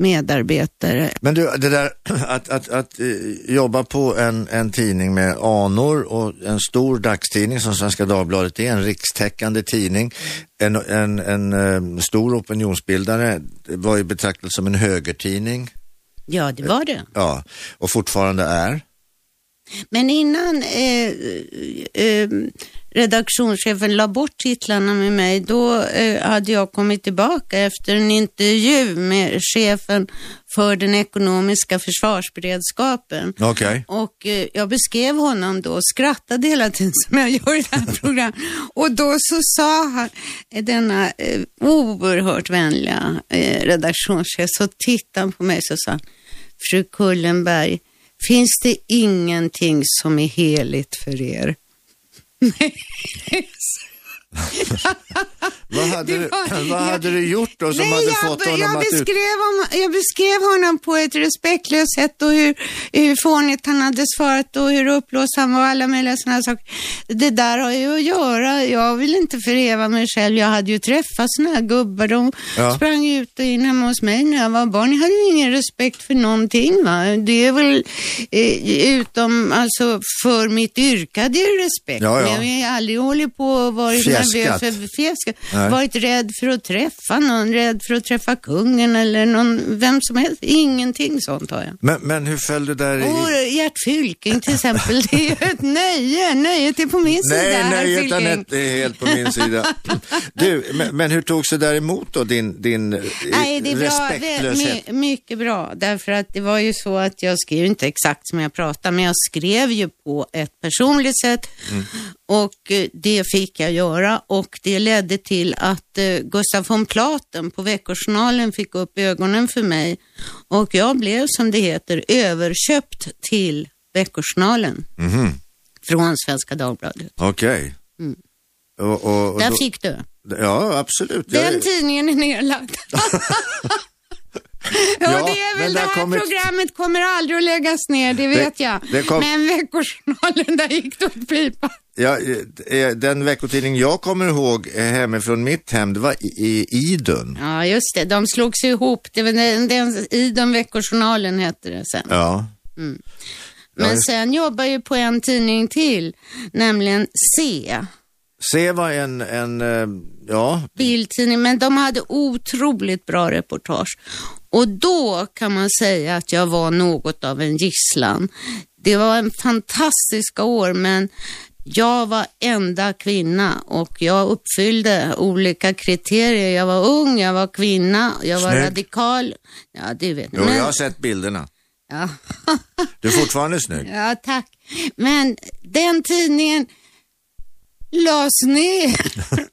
S3: medarbetare.
S2: Men du, det där att, att, att eh, jobba på en, en tidning med anor och en stor dagstidning som Svenska Dagbladet är, en rikstäckande tidning, en, en, en eh, stor opinionsbildare, det var ju betraktat som en högertidning,
S3: Ja, det var det.
S2: ja, och fortfarande är.
S3: Men innan eh, eh, redaktionschefen la bort titlarna med mig, då eh, hade jag kommit tillbaka efter en intervju med chefen för den ekonomiska försvarsberedskapen.
S2: Okej.
S3: Och eh, jag beskrev honom då och skrattade hela tiden som jag gör i det här programmet. Och då så sa han, eh, denna eh, oerhört vänliga eh, redaktionschef, så tittade han på mig så sa han, fru Kullenberg, finns det ingenting som är heligt för er?
S2: Vad hade,
S3: Det
S2: du-
S3: var-
S2: vad hade du gjort då som hade
S3: jag,
S2: fått
S3: be-
S2: honom
S3: jag,
S2: att... ut-
S3: beskrev honom, jag beskrev honom på ett respektlöst sätt och hur, hur fånigt han hade svarat och hur uppblåst han var och alla möjliga sådana saker. Det där har ju att göra. Jag vill inte förhäva mig själv. Jag hade ju träffat sådana här gubbar. De
S2: Ja.
S3: sprang ut och in hemma hos mig när jag var barn. Jag hade ju ingen respekt för någonting. Va? Det är väl eh, utom, alltså för mitt yrke hade jag ju respekt.
S2: Ja, ja.
S3: Men jag har aldrig hållit på och varit
S2: Fjäskat.
S3: nervös för fjäsk.
S2: Nej.
S3: Varit rädd för att träffa någon, rädd för att träffa kungen eller någon, vem som helst. Ingenting sånt har jag.
S2: Men, men hur föll det där
S3: Och
S2: i...
S3: Gert Fylking till exempel, det är ju ett nöje. Nöjet är på min sida,
S2: Nej,
S3: herr
S2: nej,
S3: Fylking.
S2: Anette är helt på min sida. Du, men, men hur togs det där emot då, din, din eh,
S3: Nej, det är bra,
S2: respektlöshet?
S3: Vä- my, mycket bra. Därför att det var ju så att jag skrev inte exakt som jag pratade, men jag skrev ju på ett personligt sätt.
S2: Mm.
S3: Och eh, det fick jag göra och det ledde till att eh, Gustav von Platen på Veckojournalen fick upp ögonen för mig. Och jag blev, som det heter, överköpt till Veckojournalen
S2: Mhm,
S3: från Svenska Dagbladet.
S2: Okej.
S3: Mm.
S2: Och, och, och
S3: Där
S2: då,
S3: fick du.
S2: ja, absolut. Jag-
S3: Den tidningen är nedlagd. ja,
S2: Ja,
S3: det är
S2: men
S3: väl det
S2: där
S3: här
S2: kommer-
S3: programmet kommer aldrig att läggas ner, det vet jag.
S2: det kom-
S3: Men Veckojournalen, där gick det åt pipan.
S2: Ja, eh, den veckotidning jag kommer ihåg eh, hemifrån mitt hem, det var i, i Idun.
S3: Ja, just det, de slogs ju ihop. Det var den, den, I den Veckojournalen hette det sen.
S2: Ja.
S3: Men
S2: just-
S3: sen jobbar jag ju på en tidning till, nämligen C.
S2: Se var en, en eh, ja,
S3: biltidning, men de hade otroligt bra reportage. Och då kan man säga att jag var något av en gisslan. Det var en fantastiska år, men jag var enda kvinna och jag uppfyllde olika kriterier. Jag var ung, jag var kvinna, jag var
S2: Snygg.
S3: radikal. Ja, det vet ni.
S2: jo,
S3: Men-
S2: jag har sett bilderna.
S3: ja.
S2: Du är fortfarande snygg.
S3: ja, tack. Men den tidningen lades ner.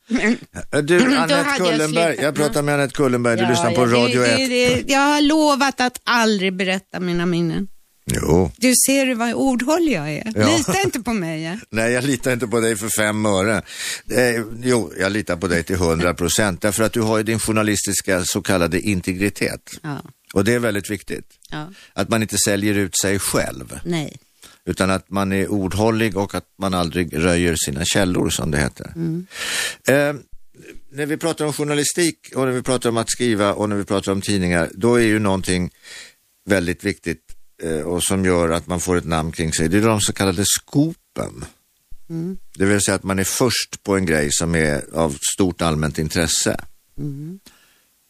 S3: men,
S2: Eh, Du,
S3: hade
S2: Anette
S3: jag
S2: Kullenberg,
S3: slutat.
S2: jag pratar med Anette Kullenberg, du
S3: Ja,
S2: lyssnar på
S3: ja,
S2: Radio 1.
S3: det, det, det, Jag har lovat att aldrig berätta mina minnen.
S2: Jo.
S3: Du ser vad ordhållig jag är.
S2: Ja.
S3: Lita inte på mig. ja.
S2: Nej, jag litar inte på dig för fem öre. Eh, jo, jag litar på dig till hundra procent, därför att du har ju din journalistiska så kallade integritet.
S3: Ja,
S2: Och det är väldigt viktigt.
S3: ja,
S2: Att man inte säljer ut sig själv,
S3: nej.
S2: utan att man är ordhållig och att man aldrig röjer sina källor, som det heter. Eh, när vi pratar om journalistik och när vi pratar om att skriva och när vi pratar om tidningar, då är ju någonting väldigt viktigt eh, och som gör att man får ett namn kring sig. Det är de så kallade skopen.
S3: Mm.
S2: Det vill säga att man är först på en grej som är av stort allmänt intresse.
S3: Mm.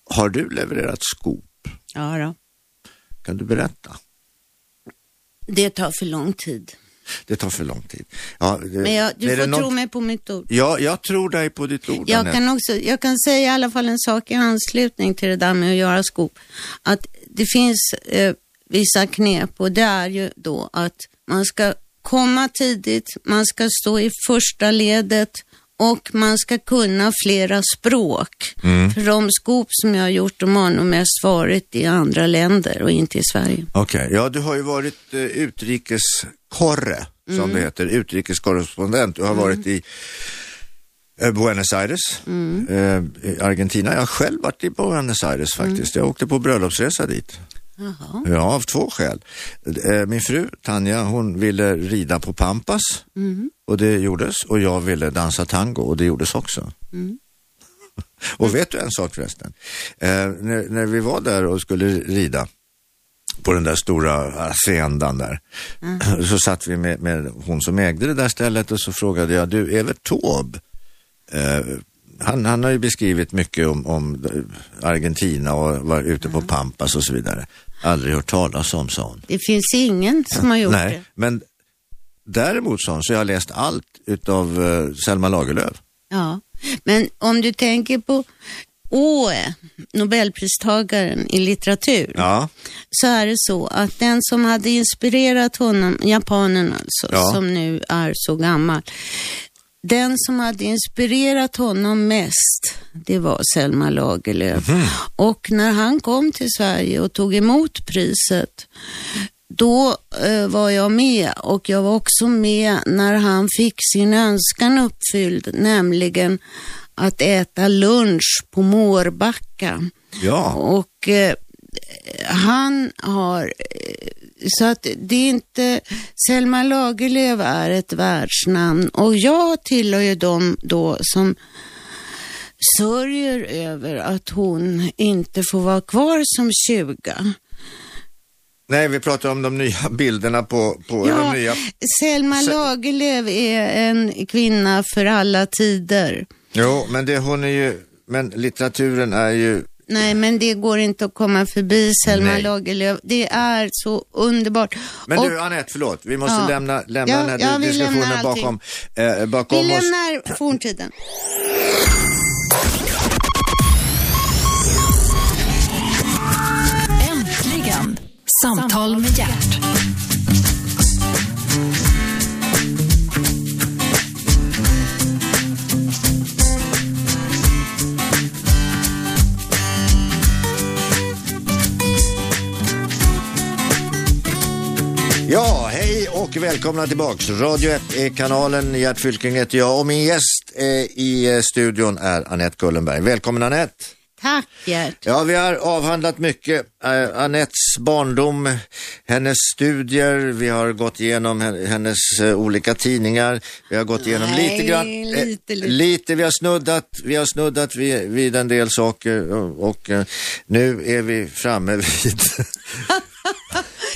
S2: Har du levererat skop?
S3: Ja, då.
S2: Kan du berätta?
S3: Det tar för lång tid.
S2: Det tar för lång tid. Ja, det-
S3: Men jag, du
S2: Mm. är det
S3: får
S2: någon-
S3: tro mig på mitt ord.
S2: Ja, jag tror dig på ditt ord.
S3: Jag
S2: Anette.
S3: kan, också, jag kan säga i alla fall en sak i anslutning till det där med att göra skop. Att det finns eh, vissa knep och det är ju då att man ska komma tidigt, man ska stå i första ledet och man ska kunna flera språk.
S2: Mm.
S3: För de skop som jag har gjort, de har nog mest varit i andra länder och inte i Sverige.
S2: Okej, ja du har ju varit eh, utrikeskorre, som det heter, utrikeskorrespondent. Du har varit i eh, Buenos Aires, eh, i Argentina. Jag har själv varit i Buenos Aires faktiskt. Jag åkte på bröllopsresa dit.
S3: Jaha.
S2: Ja, av två skäl. Eh, Min fru Tanja, hon ville rida på Pampas och det gjordes. Och jag ville dansa tango och det gjordes också. Och vet du en sak förresten? Eh, när, när vi var där och skulle rida på den där stora haciendan där.
S3: Mm.
S2: Så satt vi med, med hon som ägde det där stället och så frågade jag, du Evert Taube, eh, han, han har ju beskrivit mycket om, om eh, Argentina och var ute
S3: Mm.
S2: på Pampas och så vidare. Aldrig hört talas om, sa hon.
S3: Det finns ingen som har gjort
S2: Nej,
S3: det.
S2: men däremot sa hon, så jag har läst allt utav eh, Selma
S3: Mm.
S2: Lagerlöf.
S3: Ja. Men om du tänker på Åe, Nobelpristagaren i litteratur,
S2: Ja,
S3: så är det så att den som hade inspirerat honom, japanen alltså,
S2: Ja.
S3: som nu är så gammal, den som hade inspirerat honom mest, det var Selma Lagerlöf. Och när han kom till Sverige och tog emot priset, då eh, var jag med och jag var också med när han fick sin önskan uppfylld, nämligen att äta lunch på Mårbacka.
S2: ja.
S3: Och eh, han har, eh, så att det är inte, Selma Lagerlöf är ett världsnamn och jag tillhör ju dem då som sörjer över att hon inte får vara kvar som 20.
S2: Nej, vi pratar om de nya bilderna på, på de nya.
S3: Selma Lagerlöf är en kvinna för alla tider.
S2: Jo, men det hon är ju, men litteraturen är ju,
S3: Nej, men det går inte att komma förbi Selma
S2: Nej.
S3: Lagerlöf. Det är så underbart.
S2: men
S3: Och-
S2: du Anette, förlåt, vi måste
S3: Ja.
S2: lämna, lämna
S3: Ja,
S2: den här
S3: ja, vi lämnar
S2: diskussionen
S3: allting.
S2: bakom, eh, bakom
S3: Vi
S2: oss.
S3: lämnar forntiden.
S1: Äntligen! Samtal med hjärt.
S2: Ja, hej och välkomna tillbaks. Radio 1 är kanalen, Gert Fylking heter jag och min gäst eh, i eh, studion är Anette Gullenberg. Välkommen Anette!
S3: Tack Gert.
S2: Ja, vi har avhandlat mycket. Eh, Anettes barndom, hennes studier, vi har gått igenom hen- hennes eh, olika tidningar. Vi har gått igenom
S3: Nej,
S2: lite grann. eh,
S3: lite, lite.
S2: lite. Vi har snuddat, vi har snuddat vid, vid en del saker och, och eh, nu är vi framme vid...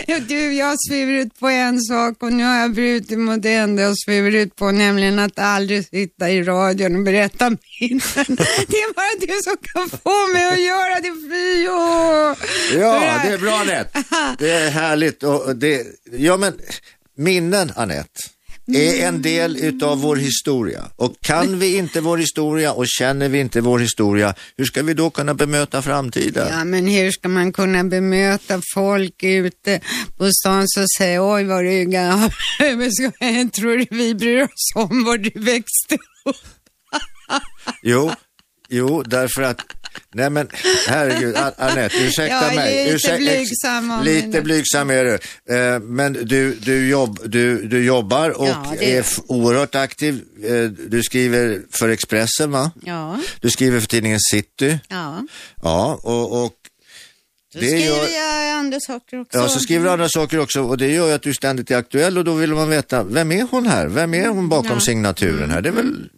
S4: Ja, Du, jag har svurit på en sak och nu har jag brutit mot det enda jag har svurit på, nämligen att aldrig sitta i radion och berätta minnen. Det är bara du som kan få mig att göra det, fy åh.
S2: ja, det är bra Anette. Det är härligt. Och och det, ja, men minnen Anette är
S4: Mm.
S2: en del utav vår historia och kan vi inte vår historia och känner vi inte vår historia, hur ska vi då kunna bemöta framtiden?
S4: Ja, men hur ska man kunna bemöta folk ute på stan som säger oj vad du är gammal, Men ska- tror du vi bryr oss om var du växte upp?
S2: Jo, jo, därför att Nej men herregud, A- Anette, ursäkta
S4: Jag är
S2: mig.
S4: lite
S2: ursäkta,
S4: blygsam av
S2: Lite
S4: mina-
S2: blygsam är du. Eh, men du, du, jobb, du, du jobbar och
S3: Ja, det-
S2: är f- oerhört aktiv. Eh, du skriver för Expressen va?
S3: Ja,
S2: Du skriver för tidningen City.
S3: ja.
S2: Ja, och, och
S3: Då
S2: Det
S3: skriver
S2: gör-
S3: jag andra saker också.
S2: Ja, så skriver du andra saker också och det gör ju att du ständigt är aktuell och då vill man veta, vem är hon här? Vem är hon bakom signaturen här? Det är väl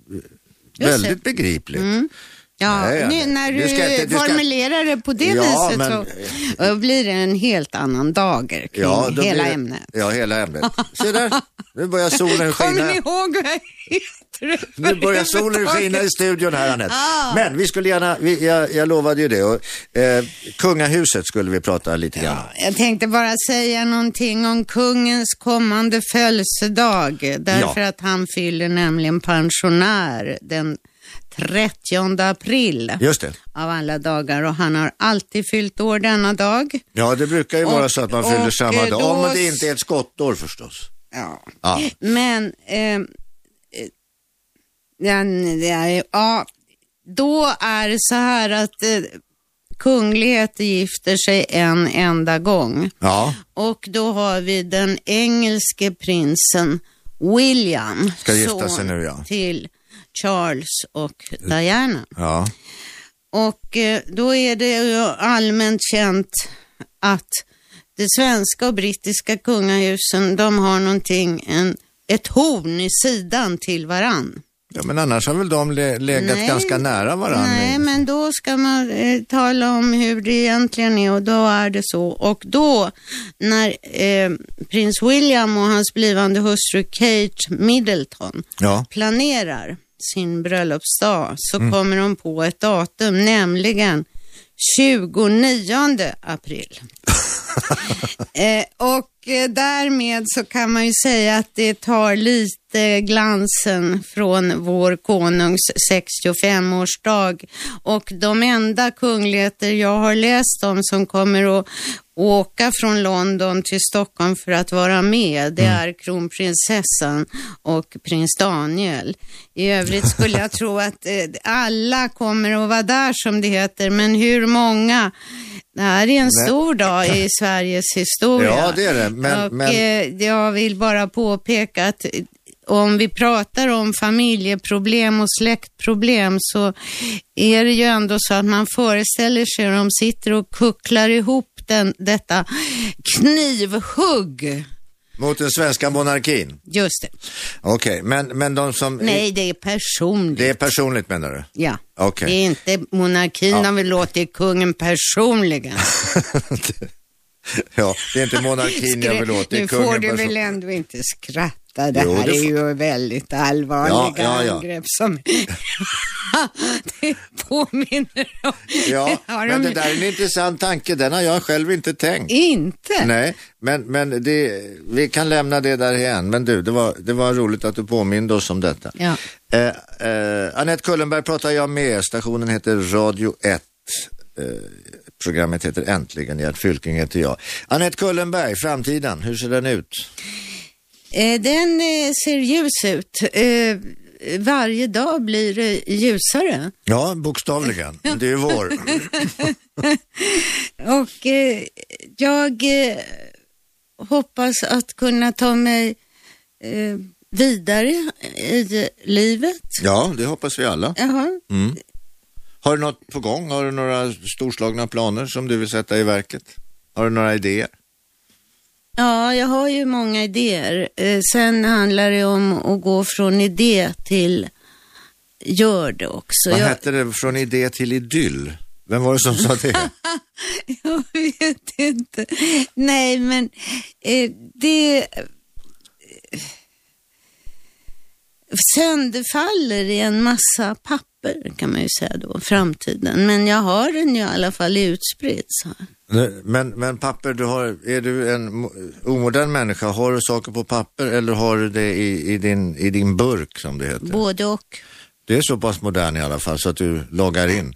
S2: väldigt begripligt.
S4: Mm. Ja,
S2: Nej,
S4: nu,
S2: Anette,
S4: när
S2: du
S4: du,
S2: ska inte- du ska-
S4: formulerar det på det
S2: Ja,
S4: viset
S2: men-
S4: så eh, blir det en helt annan dager kring
S2: Ja, då
S4: hela
S2: blir det-
S4: ämnet.
S2: Ja, hela ämnet. Se där, nu börjar solen
S4: Kommer
S2: skina.
S4: ni ihåg vad jag heter?
S2: Nu börjar solen skina i studion här Anette.
S4: Ah.
S2: Men vi skulle gärna, vi, jag, jag lovade ju det. Och, eh, kungahuset skulle vi prata lite grann om.
S4: Jag tänkte bara säga någonting om kungens kommande födelsedag. Därför
S2: Ja.
S4: att han fyller nämligen pensionär den 30 april
S2: Just det.
S4: av alla dagar och han har alltid fyllt år denna dag.
S2: Ja, det brukar ju vara
S4: Och-
S2: så att man fyller
S4: och,
S2: samma
S4: eh,
S2: dag.
S4: då-
S2: Om det inte är ett skottår förstås.
S4: Ja.
S2: Ja.
S4: Men, ehm, eh, den, det är- ja, då är det så här att eh, kungligheter gifter sig en enda gång.
S2: ja.
S4: Och då har vi den engelske prinsen William.
S2: Ska gifta
S4: son
S2: sig nu, ja.
S4: Till Charles och Diana.
S2: ja.
S4: Och eh, då är det ju allmänt känt att det svenska och brittiska kungahusen, de har någonting, en, ett horn i sidan till varann.
S2: Ja, men annars har väl de le- legat
S3: Nej.
S2: ganska nära liksom. varandra.
S3: Nej, men då ska man eh, tala om hur det egentligen är och då är det så. Och då när eh, prins William och hans blivande hustru Kate Middleton
S2: Ja,
S3: planerar sin bröllopsdag så kommer de på ett datum, nämligen 29 april. eh, och eh, därmed så kan man ju säga att det tar lite glansen från vår konungs 65-årsdag. Och de enda kungligheter jag har läst om som kommer att åka från London till Stockholm för att vara med, det är kronprinsessan och prins Daniel. I övrigt skulle jag tro att eh, alla kommer att vara där som det heter, men hur många? Det här är en stor dag i Sveriges historia.
S2: Ja, det är det, men-
S3: och,
S2: men-
S3: Eh, jag vill bara påpeka att eh, om vi pratar om familjeproblem och släktproblem så är det ju ändå så att man föreställer sig hur de sitter och kucklar ihop den, detta knivhugg.
S2: mot den svenska monarkin.
S3: Just det.
S2: Okej, men, men de som...
S3: Nej, det är personligt.
S2: Det är personligt menar du?
S3: Ja,
S2: Okej.
S3: det är inte monarkin de vill åt, det är kungen personligen.
S2: ja, det är inte monarkin jag vill åt, det är
S4: nu får
S2: kungen
S4: du
S2: person...
S4: väl ändå inte skratta. Det
S2: Jo,
S4: här
S2: det
S4: är
S2: får-
S4: ju väldigt allvarliga
S2: Ja, ja, ja.
S4: angrepp som det påminner om.
S2: Ja,
S4: Har
S2: men
S4: de-
S2: det där är en intressant tanke, den har jag själv inte tänkt.
S4: Inte?
S2: Nej, men, men det, vi kan lämna det därhen. Men du, det var, det var roligt att du påminde oss om detta.
S3: Ja.
S2: Eh, eh, Anette Kullenberg pratar jag med. Stationen heter Radio 1. Eh, programmet heter Äntligen. Gert Fylking heter jag. Anette Kullenberg, framtiden, hur ser den ut?
S3: Eh, Den eh, ser ljus ut. Eh, Varje dag blir det ljusare.
S2: Ja, bokstavligen. Det är ju vår.
S3: Och eh, jag eh, hoppas att kunna ta mig eh, vidare i livet.
S2: Ja, det hoppas vi alla.
S3: Jaha.
S2: Mm. Har du något på gång? Har du några storslagna planer som du vill sätta i verket? Har du några idéer?
S3: Ja, jag har ju många idéer. Eh, Sen handlar det om att gå från idé till gör det också.
S2: Vad
S3: Jag-
S2: hette det? Från idé till idyll. Vem var det som sa det?
S3: Jag vet inte. Nej, men eh, det... Sönderfaller i en massa papper kan man ju säga då, framtiden. Men jag har den ju i alla fall utspridd. Så. här.
S2: Nej, Men, men papper, du har, är du en mo- omodern människa? Har du saker på papper eller har du det i, i, din, i din burk som det heter?
S3: Både och.
S2: Det är så pass modern i alla fall så att du loggar in.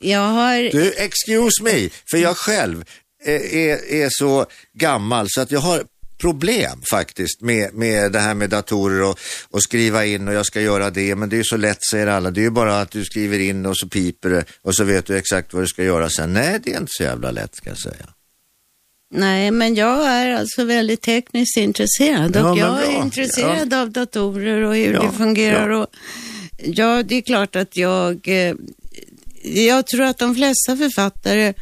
S3: Jag har...
S2: Du, excuse me, för jag själv eh, är, är så gammal så att jag har problem faktiskt med, med det här med datorer och, och skriva in och jag ska göra det men det är ju så lätt säger alla. Det är ju bara att du skriver in och så piper det och så vet du exakt vad du ska göra sen. Nej, det är inte så jävla lätt ska jag säga.
S3: Nej, men jag är alltså väldigt tekniskt intresserad
S2: Ja, men
S3: och jag är
S2: bra.
S3: intresserad av datorer och hur
S2: Ja,
S3: det fungerar.
S2: ja.
S3: Och, ja, det är klart att jag... eh, Jag tror att de flesta författare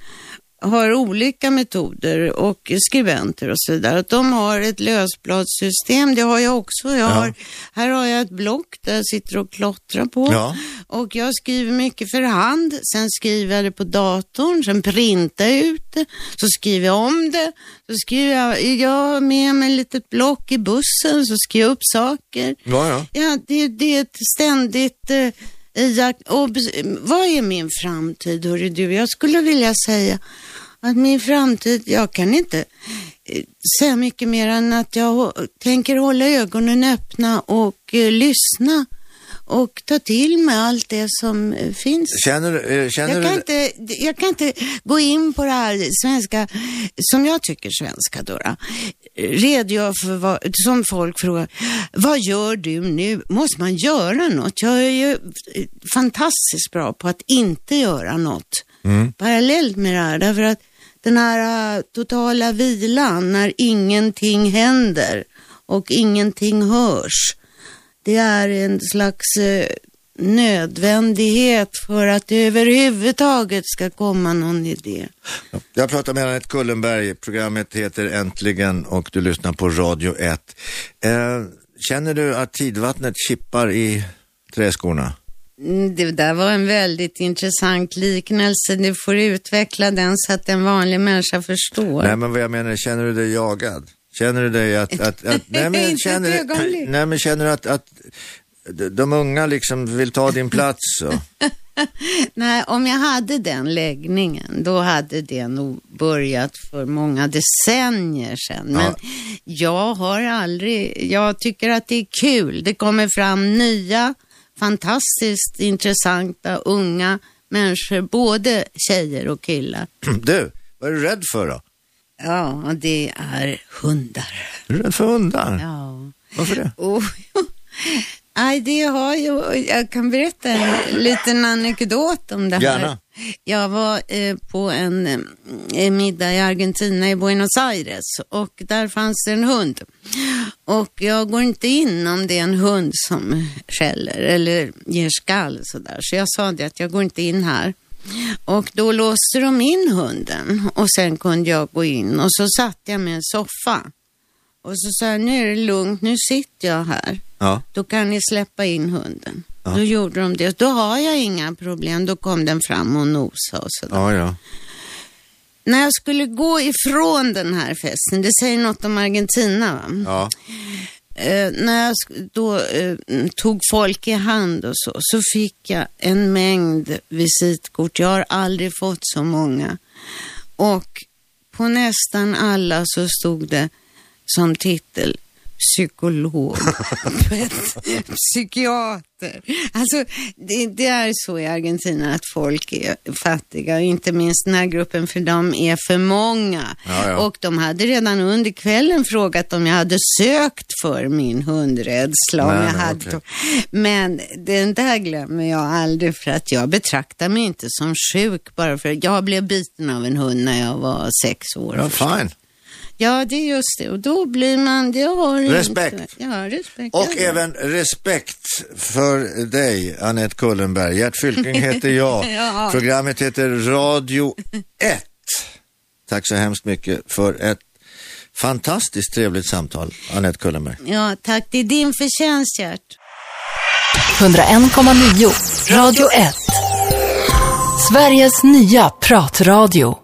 S3: har olika metoder och skribenter och så vidare. Att De har ett lösbladssystem, det har jag också. Jag har, här har jag ett block där jag sitter och klottrar på.
S2: Ja.
S3: Och jag skriver mycket för hand, sen skriver jag det på datorn, sen printar jag ut det, så skriver jag om det, så skriver jag, jag har med mig ett litet block i bussen, så skriver jag upp saker.
S2: Ja, ja.
S3: Ja, det, det är ett ständigt eh, iakt- och, bes- vad är min framtid, hörru du? Jag skulle vilja säga att min framtid, jag kan inte eh, säga mycket mer än att jag hå- tänker hålla ögonen öppna och eh, lyssna och ta till mig allt det som eh, finns.
S2: Känner, du- eh, känner
S3: Jag
S2: du...
S3: kan, inte, jag kan inte gå in på det här svenska, som jag tycker svenska då, då. redogör för vad, som folk frågar, vad gör du nu? Måste man göra något? Jag är ju eh, fantastiskt bra på att inte göra något parallellt med det här, därför att den här eh, totala vilan när ingenting händer och ingenting hörs, det är en slags eh, nödvändighet för att det överhuvudtaget ska komma någon idé.
S2: Jag pratar med Anette Kullenberg, programmet heter Äntligen och du lyssnar på Radio 1. Eh, Känner du att tidvattnet kippar i träskorna?
S3: Mm, Det där var en väldigt intressant liknelse. Du får utveckla den så att en vanlig människa förstår.
S2: Nej, men vad jag menar, känner du dig jagad? Känner du dig att... att, att nej,
S4: Inte
S2: men
S4: ett
S2: känner,
S4: ögonblick.
S2: nej, men känner du att, att de- de unga liksom vill ta din plats? Och,
S3: Nej, om jag hade den läggningen, då hade det nog börjat för många decennier sedan. Men jag har aldrig, jag tycker att det är kul. Det kommer fram nya, fantastiskt intressanta, unga människor, både tjejer och killar.
S2: du, vad är du rädd för då?
S3: Ja, och det är hundar.
S2: Är du rädd för hundar?
S3: Ja.
S2: Varför det?
S3: Oh, Nej, det har jag. Jag kan berätta en liten anekdot om det här.
S2: Gärna.
S3: Jag var eh, på en eh, middag i Argentina i Buenos Aires och där fanns det en hund. Och jag går inte in om det är en hund som skäller eller ger skall sådär. Så jag sa det att jag går inte in här. Och då låste de in hunden och sen kunde jag gå in och så satt jag med en soffa. Och så sa jag, nu är det lugnt, nu sitter jag här.
S2: Ja.
S3: Då kan ni släppa in hunden.
S2: Ja.
S3: Då gjorde de det. Då har jag inga problem. Då kom den fram och nosade och sådär.
S2: Ja, ja.
S3: När jag skulle gå ifrån den här festen, det säger något om Argentina va?
S2: ja.
S3: Eh, när jag sk- då eh, mm, tog folk i hand och så, så fick jag en mängd visitkort. Jag har aldrig fått så många. Och på nästan alla så stod det som titel psykolog.
S4: Psykiater.
S3: Alltså, det, det är så i Argentina att folk är fattiga, och inte minst den här gruppen, för de är för många.
S2: Ja, ja.
S3: Och de hade redan under kvällen frågat om jag hade sökt för min hundrädsla. Om
S2: Nej,
S3: jag
S2: nej,
S3: hade.
S2: okej.
S3: Men den där glömmer jag aldrig, för att jag betraktar mig inte som sjuk bara för jag blev biten av en hund när jag var sex år.
S2: ja fine.
S3: Ja, det är just det. Och då blir man... Det har
S2: Respekt.
S3: Inte, ja, respekt.
S2: Och
S3: ja, ja.
S2: även respekt för dig, Annette Kullenberg. Gert Fylking heter jag.
S4: Ja.
S2: Programmet heter Radio 1. Tack så hemskt mycket för ett fantastiskt trevligt samtal, Annette Kullenberg.
S3: Ja, tack. Det är din förtjänst, Gert.
S1: 101,9. Radio 1. Sveriges nya pratradio.